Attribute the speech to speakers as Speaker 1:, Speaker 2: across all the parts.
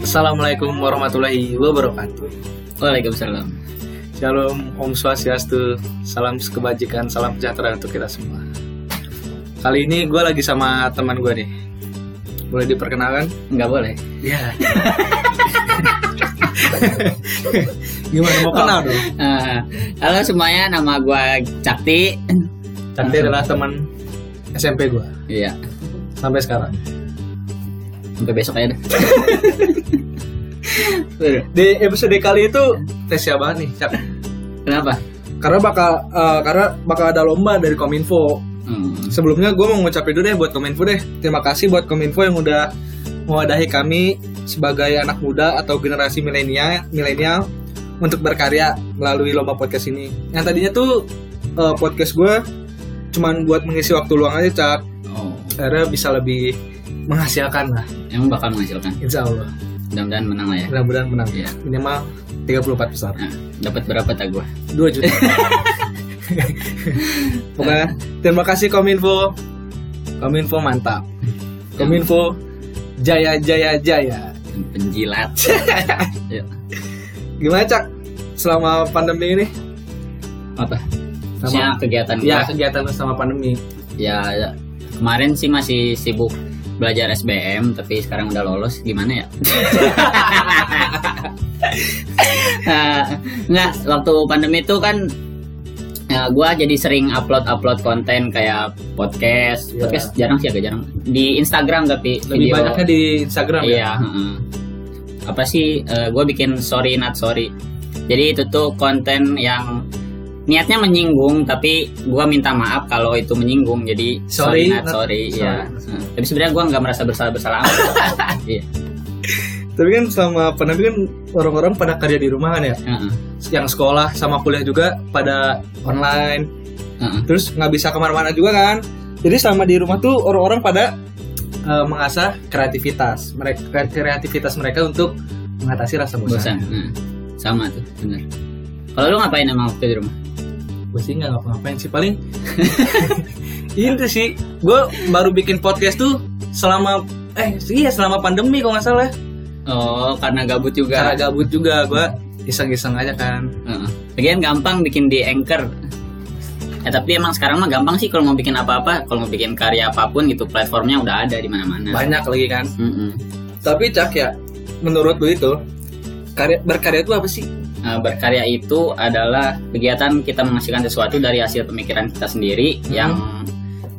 Speaker 1: Assalamualaikum warahmatullahi wabarakatuh.
Speaker 2: Waalaikumsalam.
Speaker 1: Shalom, Om Swastiastu, salam kebajikan, salam sejahtera untuk kita semua. Kali ini gue lagi sama teman gue nih. Boleh diperkenalkan?
Speaker 2: Nggak boleh.
Speaker 1: Ya. Gimana mau kenal dong?
Speaker 2: Eh, halo semuanya, nama gua Cakti.
Speaker 1: Tapi Kan adalah teman SMP gue
Speaker 2: Iya.
Speaker 1: sampai sekarang.
Speaker 2: Sampai besok aja deh. Bener.
Speaker 1: Di episode kali itu spesial banget nih, Cak.
Speaker 2: Kenapa?
Speaker 1: Karena bakal eh, karena bakal ada lomba dari Kominfo
Speaker 2: Hmm.
Speaker 1: sebelumnya gue mau ngucapin dulu deh buat Kominfo deh. Terima kasih buat Kominfo yang udah mewadahi kami sebagai anak muda atau generasi milenial milenial untuk berkarya melalui lomba podcast ini. Yang tadinya tuh eh, podcast gue cuman buat mengisi waktu luang aja cak
Speaker 2: Oh,
Speaker 1: akhirnya bisa lebih menghasilkan lah
Speaker 2: emang bakal menghasilkan.
Speaker 1: insya Allah
Speaker 2: Mudah-mudahan menang lah ya.
Speaker 1: mudah-mudahan menang
Speaker 2: Iya.
Speaker 1: minimal 34 besar
Speaker 2: Nah, dapat berapa tak gua?
Speaker 1: 2 juta Pokoknya terima kasih Kominfo Kominfo mantap Kominfo jaya jaya jaya
Speaker 2: Penjilat. Iya. Yuk.
Speaker 1: Gimana Cak selama pandemi ini?
Speaker 2: Apa?
Speaker 1: Sama-
Speaker 2: Sama kegiatan
Speaker 1: Ya
Speaker 2: gua.
Speaker 1: kegiatan lu sama pandemi
Speaker 2: Ya, ya. kemarin sih masih sibuk belajar SBM tapi sekarang udah lolos gimana ya? Eh, Nggak, waktu pandemi itu kan ya, gua jadi sering upload-upload konten kayak
Speaker 1: Iya.
Speaker 2: podcast, podcast jarang sih agak jarang di Instagram tapi
Speaker 1: Lebih banyaknya di Instagram ya?
Speaker 2: Iya. heeh. Apa sih? gue bikin sorry not sorry. Jadi itu tuh konten yang niatnya menyinggung, tapi gue minta maaf kalau itu menyinggung. Jadi
Speaker 1: Sorry,
Speaker 2: sorry, not
Speaker 1: not-
Speaker 2: sorry.
Speaker 1: sorry,
Speaker 2: Iya.
Speaker 1: not
Speaker 2: Heeh. Tapi sebenarnya gue nggak merasa bersalah bersalah. Iya.
Speaker 1: Tapi kan selama pandemi kan orang-orang pada kerja di rumah kan ya
Speaker 2: Heeh.
Speaker 1: Yang sekolah sama kuliah juga pada online
Speaker 2: Heeh.
Speaker 1: terus nggak bisa kemana-mana juga kan jadi selama di rumah tuh orang-orang pada eh, mengasah kreativitas mereka kreativitas mereka untuk mengatasi rasa
Speaker 2: Bosan.
Speaker 1: bosan
Speaker 2: Heeh. Sama tuh, bener. Kalau lu ngapain emang waktu di rumah?
Speaker 1: gue sih nggak ngapa-ngapain sih paling itu sih gue baru bikin podcast tuh selama eh iya selama pandemi kalau nggak salah
Speaker 2: Oh, karena gabut
Speaker 1: karena
Speaker 2: juga.
Speaker 1: gabut juga gue iseng-iseng aja kan
Speaker 2: Heeh. Lagian gampang bikin di Anchor. Ya, tapi emang sekarang mah gampang sih kalau mau bikin apa-apa, kalau mau bikin karya apapun gitu platformnya udah ada di mana-mana.
Speaker 1: banyak lagi kan
Speaker 2: Mm-mm.
Speaker 1: tapi cak ya menurut lu itu karya berkarya itu apa sih
Speaker 2: Eh, berkarya itu adalah kegiatan kita menghasilkan sesuatu dari hasil pemikiran kita sendiri
Speaker 1: Hmm.
Speaker 2: yang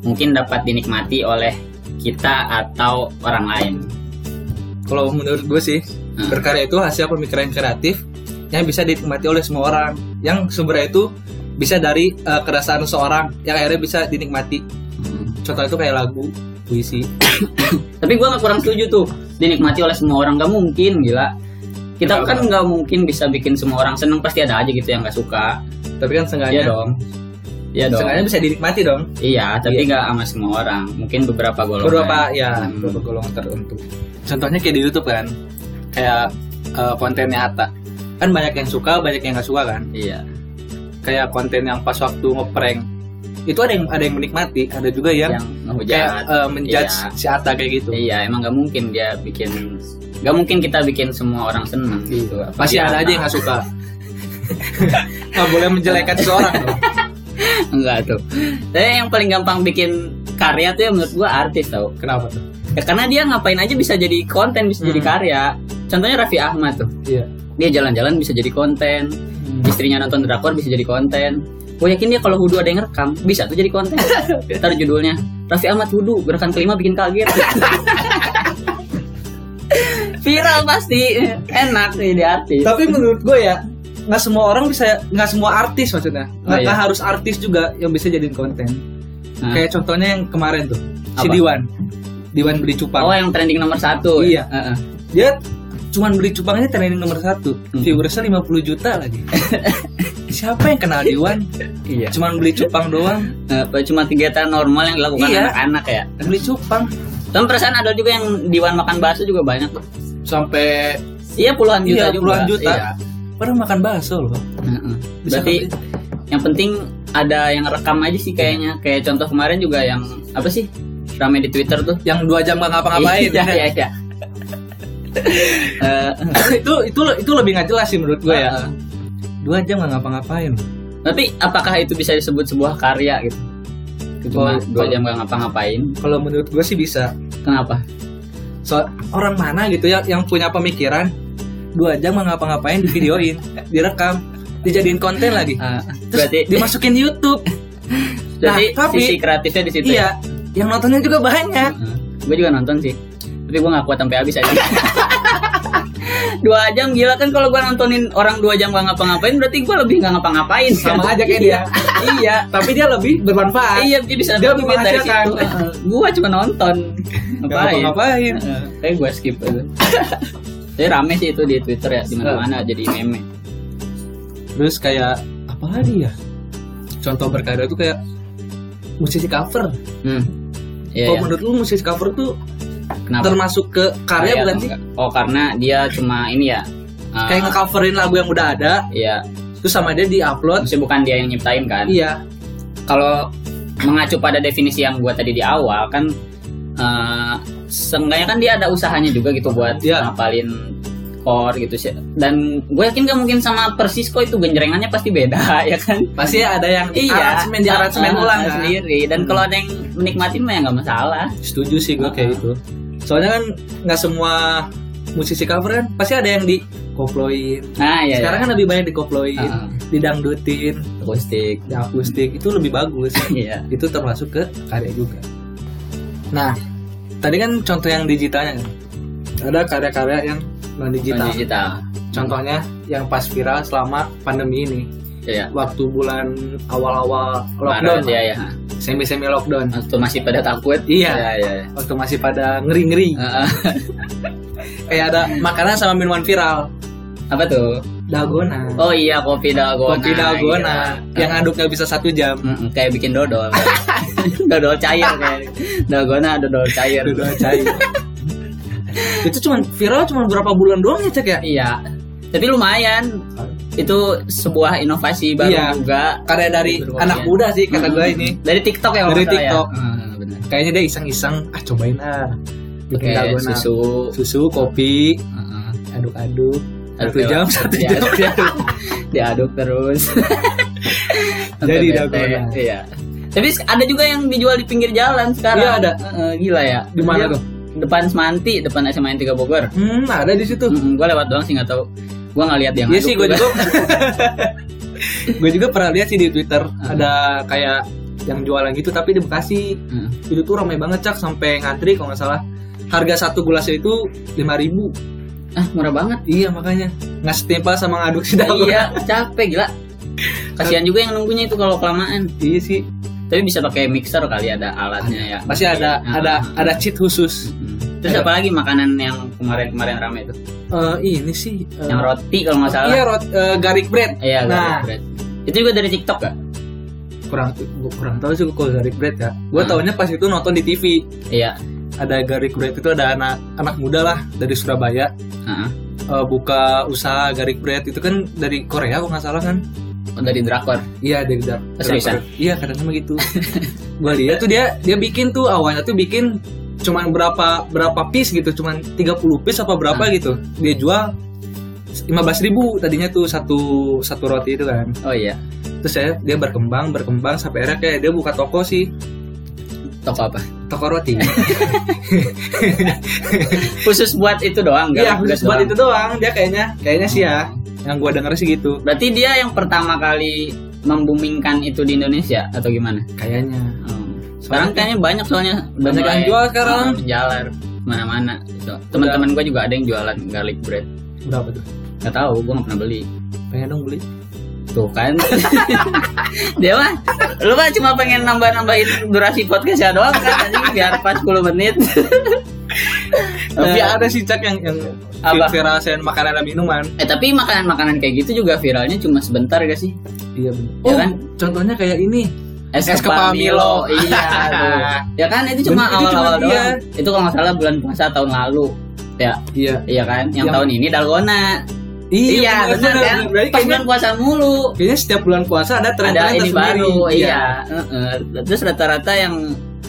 Speaker 2: mungkin dapat dinikmati oleh kita atau orang lain.
Speaker 1: kalau menurut gue sih
Speaker 2: Hmm.
Speaker 1: berkarya itu hasil pemikiran kreatif yang bisa dinikmati oleh semua orang yang sumbernya itu bisa dari eh, keresahan seorang yang akhirnya bisa dinikmati
Speaker 2: Mm.
Speaker 1: contoh itu kayak lagu puisi
Speaker 2: Tapi gua nggak kurang setuju tuh dinikmati oleh semua orang nggak mungkin gila. Kita
Speaker 1: Kenapa?
Speaker 2: kan nggak mungkin bisa bikin semua orang seneng pasti ada aja gitu yang nggak suka.
Speaker 1: tapi kan
Speaker 2: Iya
Speaker 1: sengaja
Speaker 2: dong. Iya dong.
Speaker 1: sengaja bisa dinikmati dong
Speaker 2: Iya, tapi nggak sama semua orang. Mungkin beberapa golongan.
Speaker 1: beberapa ya
Speaker 2: Hmm.
Speaker 1: beberapa golongan tertentu contohnya kayak di YouTube kan kayak eh, kontennya Ata kan banyak yang suka banyak yang nggak suka kan
Speaker 2: Iya.
Speaker 1: kayak konten yang pas waktu ngeprank itu ada yang ada yang menikmati ada juga yang,
Speaker 2: Yang
Speaker 1: kayak
Speaker 2: ngehujat.
Speaker 1: eh, menjudge
Speaker 2: Iya.
Speaker 1: si Ata kayak gitu
Speaker 2: Iya, emang nggak mungkin dia bikin. Nggak mungkin kita bikin semua orang seneng. Gitu.
Speaker 1: Iya. Pasti
Speaker 2: Apalagi
Speaker 1: ada aja yang
Speaker 2: anak.
Speaker 1: gak suka. Gak boleh menjelekkan seseorang dong.
Speaker 2: Enggak tuh. Tapi yang paling gampang bikin karya tuh ya menurut gua artis tau.
Speaker 1: Kenapa tuh?
Speaker 2: Ya, karena dia ngapain aja bisa jadi konten, bisa jadi
Speaker 1: Hmm.
Speaker 2: karya. Contohnya Raffi Ahmad tuh.
Speaker 1: Iya.
Speaker 2: Dia jalan-jalan bisa jadi konten. Istrinya nonton drakor bisa jadi konten. Gue yakin dia kalau hudu ada yang rekam bisa tuh jadi konten. Ntar judulnya Raffi Ahmad hudu gerakan kelima bikin kaget. Viral pasti enak nih di artis.
Speaker 1: Tapi menurut gue ya, nggak semua orang bisa, nggak semua artis maksudnya,
Speaker 2: Oh,
Speaker 1: nggak
Speaker 2: iya.
Speaker 1: nggak harus artis juga yang bisa jadiin konten.
Speaker 2: Nah,
Speaker 1: Kayak contohnya yang kemarin tuh, si
Speaker 2: Apa?
Speaker 1: Diwan, Diwan beli
Speaker 2: oh
Speaker 1: cupang.
Speaker 2: yang trending nomor satu. ya?
Speaker 1: Iya.
Speaker 2: Heeh.
Speaker 1: Dia cuman beli cupang aja trending nomor satu,
Speaker 2: Hmm.
Speaker 1: viewersnya 50 juta lagi. Siapa yang kenal Diwan?
Speaker 2: Iya.
Speaker 1: Cuman beli cupang doang,
Speaker 2: Eh, apa, cuma kegiatan normal yang dilakukan
Speaker 1: Iya.
Speaker 2: anak-anak ya.
Speaker 1: beli cupang
Speaker 2: Dan perasaan ada juga yang diwan makan bakso juga banyak. tuh.
Speaker 1: sampai
Speaker 2: Iya puluhan
Speaker 1: iya,
Speaker 2: juta juga.
Speaker 1: puluhan juta.
Speaker 2: Iya.
Speaker 1: Pernah makan bakso loh.
Speaker 2: Heeh.
Speaker 1: Bisa
Speaker 2: Berarti
Speaker 1: kan?
Speaker 2: yang penting ada yang rekam aja sih kayaknya. Kayak contoh kemarin juga yang apa sih? Rame di Twitter tuh.
Speaker 1: yang dua jam gak ngapa-ngapain
Speaker 2: Iya, iya, iya. Eh,
Speaker 1: itu itu itu lebih nggak jelas sih menurut gue ya.
Speaker 2: Ah, ah.
Speaker 1: Dua jam nggak ngapa-ngapain.
Speaker 2: tapi apakah itu bisa disebut sebuah karya gitu? Itu
Speaker 1: Kalau-
Speaker 2: Cuma dua
Speaker 1: kalau-
Speaker 2: jam gak ngapa-ngapain.
Speaker 1: Kalau menurut gue sih bisa.
Speaker 2: Kenapa?
Speaker 1: So, orang mana gitu ya yang punya pemikiran dua jam nggak ngapa-ngapain di videoin, direkam, dijadiin konten lagi,
Speaker 2: Eh,
Speaker 1: Terus
Speaker 2: berarti
Speaker 1: dimasukin YouTube.
Speaker 2: berarti
Speaker 1: Ah. Nah, tapi-
Speaker 2: sisi kreatifnya di situ. ya?
Speaker 1: iya, yang nontonnya juga banyak.
Speaker 2: gue juga nonton sih tapi gue gak kuat sampai habis aja dua jam gila kan kalau gue nontonin orang dua jam gak ngapa-ngapain berarti gue lebih gak ngapa-ngapain
Speaker 1: Sama aja kayak dia.
Speaker 2: iya
Speaker 1: Tapi dia lebih bermanfaat.
Speaker 2: iya dia bisa
Speaker 1: Dia
Speaker 2: dapat duit dari
Speaker 1: menghasilkan. eh,
Speaker 2: situ gue cuma nonton
Speaker 1: Nggak
Speaker 2: ngapain
Speaker 1: ngapa-ngapain.
Speaker 2: Heeh, kayak gue skip itu tapi rame sih itu di twitter ya di mana-mana jadi meme
Speaker 1: Terus kayak apa lagi ya? Contoh berkarya tuh kayak musisi cover.
Speaker 2: hmm. Iya,
Speaker 1: Kalau
Speaker 2: iya.
Speaker 1: menurut lu musisi cover tuh
Speaker 2: Kenapa?
Speaker 1: termasuk ke karya
Speaker 2: Iya,
Speaker 1: bukan sih?
Speaker 2: enggak. oh karena dia cuma ini ya eh,
Speaker 1: Kayak ngecoverin lagu yang udah ada,
Speaker 2: iya
Speaker 1: terus sama dia diupload.
Speaker 2: maksudnya bukan dia yang nyiptain kan
Speaker 1: Iya,
Speaker 2: kalau mengacu pada definisi yang gua tadi di awal kan eh seenggaknya kan dia ada usahanya juga gitu buat
Speaker 1: Iya.
Speaker 2: ngapalin core gitu sih dan gue yakin gak mungkin sama persis kok itu genjrengannya pasti beda ya kan
Speaker 1: pasti ada yang
Speaker 2: iya
Speaker 1: aransemen di aransemen
Speaker 2: Ah,
Speaker 1: ulang
Speaker 2: ah,
Speaker 1: kan?
Speaker 2: sendiri dan kalau ada yang menikmatin mah ya nggak masalah
Speaker 1: Setuju sih gue kayak gitu. Soalnya kan nggak semua musisi cover kan pasti ada yang dikoploin.
Speaker 2: nah ya
Speaker 1: Sekarang kan lebih banyak dikoploin,
Speaker 2: Ah.
Speaker 1: didangdutin,
Speaker 2: akustik
Speaker 1: diakustik itu lebih bagus.
Speaker 2: iya
Speaker 1: itu termasuk ke karya juga. Nah, tadi kan contoh yang digitalnya kan? ada karya-karya yang non digital.
Speaker 2: digital digital
Speaker 1: Contohnya yang pas viral selama pandemi ini,
Speaker 2: iya
Speaker 1: waktu bulan awal-awal
Speaker 2: Maret,
Speaker 1: lockdown,
Speaker 2: ya ya
Speaker 1: semi-semi lockdown,
Speaker 2: waktu masih pada takut
Speaker 1: Iya.
Speaker 2: iya iya, iya.
Speaker 1: waktu masih pada ngeri-ngeri,
Speaker 2: Ah, ah.
Speaker 1: kayak ada makanan sama minuman viral,
Speaker 2: apa tuh
Speaker 1: dalgona,
Speaker 2: oh iya kopi dalgona
Speaker 1: kopi dalgona,
Speaker 2: Iya.
Speaker 1: yang aduk nggak bisa satu jam,
Speaker 2: Mm, kayak bikin dodol dodol cair kayak dalgona dodol cair
Speaker 1: dua cair. itu cuman viral cuman berapa bulan doang ya cek ya?
Speaker 2: iya tapi lumayan itu sebuah inovasi baru
Speaker 1: Iya. ya.
Speaker 2: juga
Speaker 1: Karya dari
Speaker 2: Berlumayan.
Speaker 1: anak muda sih kata gue
Speaker 2: Mm.
Speaker 1: ini.
Speaker 2: dari TikTok ya kalau
Speaker 1: Dari
Speaker 2: nggak salah
Speaker 1: TikTok.
Speaker 2: ya? Ah, benar.
Speaker 1: kayaknya dia iseng-iseng ah cobain ah bikin
Speaker 2: Pakai
Speaker 1: dalgona
Speaker 2: susu
Speaker 1: susu kopi
Speaker 2: Heeh.
Speaker 1: aduk-aduk satu
Speaker 2: Aduk
Speaker 1: jam
Speaker 2: lewat.
Speaker 1: satu
Speaker 2: Iya,
Speaker 1: jam diaduk.
Speaker 2: diaduk terus
Speaker 1: Jadi
Speaker 2: Sampai
Speaker 1: dalgona.
Speaker 2: bete. iya tapi ada juga yang dijual di pinggir jalan sekarang
Speaker 1: Iya, ada.
Speaker 2: Heeh, gila ya
Speaker 1: Di mana
Speaker 2: Dia
Speaker 1: tuh?
Speaker 2: depan Semanti depan SMA N3 Bogor
Speaker 1: hmm ada di situ
Speaker 2: gue lewat doang sih nggak tahu gue nggak lihat yang
Speaker 1: iya
Speaker 2: aduk
Speaker 1: sih gue juga gue juga pernah lihat sih di twitter ada kayak yang jualan gitu tapi di bekasi
Speaker 2: Heeh.
Speaker 1: itu tuh ramai banget cak sampai ngantri kalau nggak salah harga satu gelasnya itu lima ribu
Speaker 2: ah murah banget
Speaker 1: iya makanya nggak setimpal sama ngaduk si dalgona
Speaker 2: iya capek gila kasihan juga yang nunggunya itu kalau kelamaan
Speaker 1: iya sih
Speaker 2: tapi bisa pakai mixer kali ada alatnya ya
Speaker 1: pasti ada
Speaker 2: Ah.
Speaker 1: ada ada cheat khusus
Speaker 2: Hmm. terus apa lagi makanan yang kemarin-kemarin rame itu
Speaker 1: Eh, ini sih eh,
Speaker 2: yang roti kalau nggak salah
Speaker 1: iya rot eh, garlic bread
Speaker 2: iya garlic
Speaker 1: Nah.
Speaker 2: bread. itu juga dari TikTok gak?
Speaker 1: kurang gua kurang tahu sih kalau garlic bread ya gue
Speaker 2: Hmm.
Speaker 1: taunya pas itu nonton di TV
Speaker 2: iya
Speaker 1: ada garlic bread itu ada anak anak muda lah dari Surabaya
Speaker 2: Heeh.
Speaker 1: eh, buka usaha garlic bread itu kan dari Korea kalau nggak salah kan
Speaker 2: Oh, dari drakor
Speaker 1: iya dari Dark
Speaker 2: Seriusan?
Speaker 1: iya katanya mah gitu gue lihat tuh dia dia bikin tuh awalnya tuh bikin cuman berapa berapa piece gitu cuman 30 piece apa berapa
Speaker 2: Ah.
Speaker 1: gitu dia jual 15.000 ribu tadinya tuh satu satu roti itu kan
Speaker 2: oh iya
Speaker 1: terus saya dia berkembang berkembang sampai akhirnya kayak dia buka toko sih
Speaker 2: toko apa
Speaker 1: toko roti
Speaker 2: khusus buat itu doang
Speaker 1: Iya,
Speaker 2: garlic
Speaker 1: khusus buat
Speaker 2: bread doang? Hmm.
Speaker 1: itu doang. Dia kayaknya, kayaknya sih ya. Yang gua denger sih gitu.
Speaker 2: berarti dia yang pertama kali membumingkan itu di Indonesia atau gimana
Speaker 1: Kayaknya.
Speaker 2: Hmm. Sekarang kayaknya banyak soalnya udah
Speaker 1: Banyak yang
Speaker 2: mulai,
Speaker 1: jual sekarang.
Speaker 2: uh, menjalar mana-mana. So, Teman-teman gue juga ada yang jualan garlic bread.
Speaker 1: Berapa tuh?
Speaker 2: Gak tahu, gue gak pernah beli.
Speaker 1: Pengen dong beli.
Speaker 2: Tuh kan. Dia mah lu mah cuma pengen nambah-nambahin durasi podcast ya doang kan anjing biar pas 10 menit.
Speaker 1: Tapi
Speaker 2: Nah,
Speaker 1: ada sih cak yang yang
Speaker 2: Apa?
Speaker 1: viral selain makanan dan minuman.
Speaker 2: eh tapi makanan-makanan kayak gitu juga viralnya cuma sebentar gak sih?
Speaker 1: Iya benar.
Speaker 2: Ya
Speaker 1: Oh,
Speaker 2: kan?
Speaker 1: contohnya kayak ini.
Speaker 2: Es,
Speaker 1: Es kepala
Speaker 2: kepala
Speaker 1: Milo.
Speaker 2: Milo. Iya. aduh. ya kan itu cuma
Speaker 1: Itu cuma
Speaker 2: awal-awal
Speaker 1: dia.
Speaker 2: doang. Itu kalau nggak salah bulan puasa tahun lalu. Ya,
Speaker 1: Iya.
Speaker 2: Iya kan, yang,
Speaker 1: Yang-
Speaker 2: tahun ini dalgona.
Speaker 1: bener,
Speaker 2: Iya, benar
Speaker 1: bener,
Speaker 2: kan?
Speaker 1: bener. Berarti
Speaker 2: Pas
Speaker 1: kayaknya,
Speaker 2: bulan puasa mulu.
Speaker 1: kayaknya setiap bulan puasa ada iya. tren
Speaker 2: ada
Speaker 1: tren
Speaker 2: ini
Speaker 1: tersendiri.
Speaker 2: baru, iya. Heeh. Terus rata-rata yang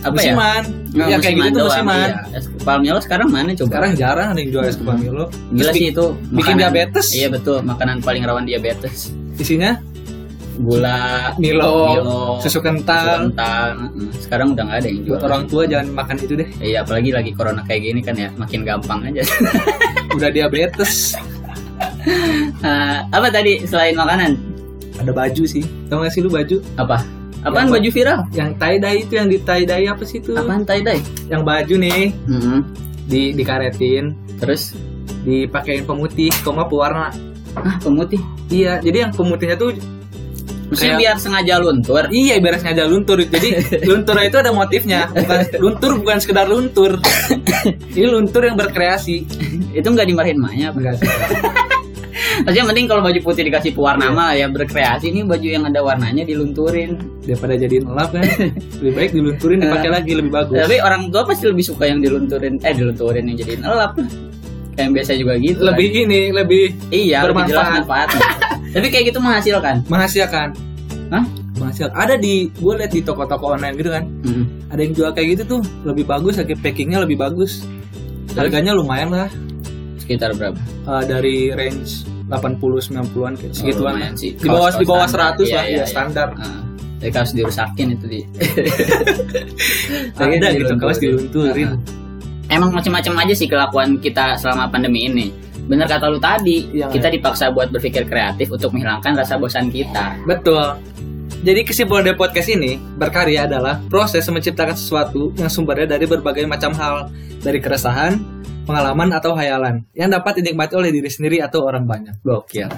Speaker 2: apa ya?
Speaker 1: musiman.
Speaker 2: Nggak,
Speaker 1: ya kayak gitu tuh
Speaker 2: doang,
Speaker 1: musiman.
Speaker 2: iya. Es kepal Milo sekarang mana coba?
Speaker 1: Sekarang jarang ada yang jual es kepal Milo.
Speaker 2: Gila
Speaker 1: Terus
Speaker 2: sih itu
Speaker 1: bikin
Speaker 2: makanan-
Speaker 1: diabetes.
Speaker 2: Iya betul, makanan paling rawan diabetes.
Speaker 1: Isinya
Speaker 2: Gula,
Speaker 1: Milo,
Speaker 2: Milo,
Speaker 1: susu
Speaker 2: susu
Speaker 1: kental.
Speaker 2: kental. Mm-mm. Sekarang udah nggak ada yang
Speaker 1: Iya.
Speaker 2: jual.
Speaker 1: Buat orang tua jangan makan itu deh.
Speaker 2: Iya, apalagi lagi corona kayak gini kan ya, makin gampang aja.
Speaker 1: Udah diabetes.
Speaker 2: Ah, apa tadi selain makanan?
Speaker 1: ada baju sih. Tau gak sih lu baju?
Speaker 2: Apa? Apaan
Speaker 1: Apa?
Speaker 2: baju viral?
Speaker 1: Yang tie dye itu yang di tie dye apa sih itu?
Speaker 2: Apaan tie dye?
Speaker 1: Yang baju nih
Speaker 2: Mm-mm.
Speaker 1: di dikaretin,
Speaker 2: Terus,
Speaker 1: dipakein pemutih, koma pewarna.
Speaker 2: ah pemutih.
Speaker 1: Iya, jadi yang pemutihnya tuh
Speaker 2: Maksudnya
Speaker 1: Kayak-
Speaker 2: biar sengaja luntur.
Speaker 1: iya ibaratnya ada luntur. Jadi luntur itu ada motifnya. Bukan luntur bukan sekedar luntur. Ini luntur yang berkreasi.
Speaker 2: Itu nggak dimarahin emaknya apa?
Speaker 1: Enggak sih.
Speaker 2: Maksudnya mending kalau baju putih dikasih pewarna mah
Speaker 1: Iya.
Speaker 2: ya berkreasi nih baju yang ada warnanya dilunturin.
Speaker 1: Daripada jadiin lap kan. Lebih baik dilunturin dipakai lagi lebih bagus.
Speaker 2: Tapi orang tua pasti lebih suka yang dilunturin, eh dilunturin yang jadiin elap. Kayak yang biasa juga gitu.
Speaker 1: Lebih
Speaker 2: kan.
Speaker 1: ini, lebih
Speaker 2: iya, lebih jelas
Speaker 1: bermanfaat.
Speaker 2: manfaatnya. Tapi kayak gitu menghasilkan.
Speaker 1: menghasilkan.
Speaker 2: Hah?
Speaker 1: Menghasilkan. Ada di gue liat di toko-toko online gitu kan.
Speaker 2: Mm.
Speaker 1: ada yang jual kayak gitu tuh lebih bagus lagi packingnya lebih bagus harganya lumayan lah
Speaker 2: Sekitar berapa?
Speaker 1: eh, dari range 80-90an kayak segituan
Speaker 2: Oh, lumayan sih.
Speaker 1: di bawah
Speaker 2: Kaos-kaos
Speaker 1: di bawah 100
Speaker 2: standar. Iya,
Speaker 1: lah ya
Speaker 2: iya, iya.
Speaker 1: standar
Speaker 2: Ah, Jadi harus dirusakin itu di.
Speaker 1: ada gitu kaos dilunturin
Speaker 2: Emang macam-macam aja sih kelakuan kita selama pandemi ini. Bener kata lu tadi,
Speaker 1: Iya,
Speaker 2: kita dipaksa buat berpikir kreatif untuk menghilangkan rasa bosan kita.
Speaker 1: betul jadi kesimpulan dari podcast ini berkarya adalah proses menciptakan sesuatu yang sumbernya dari berbagai macam hal dari keresahan pengalaman atau hayalan yang dapat dinikmati oleh diri sendiri atau orang banyak
Speaker 2: Gokil.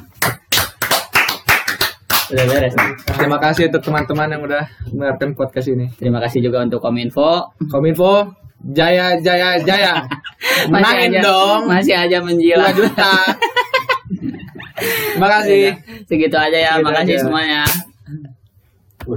Speaker 2: Udah beres.
Speaker 1: terima kasih untuk teman-teman yang udah mendengarkan podcast ini
Speaker 2: Terima kasih juga untuk kominfo.
Speaker 1: Kominfo Jaya Jaya Jaya Menangin
Speaker 2: aja,
Speaker 1: dong
Speaker 2: Masih aja
Speaker 1: 2
Speaker 2: menjilat.
Speaker 1: juta Terima kasih
Speaker 2: Segitu aja ya.
Speaker 1: Segitu
Speaker 2: Makasih
Speaker 1: aja.
Speaker 2: semuanya.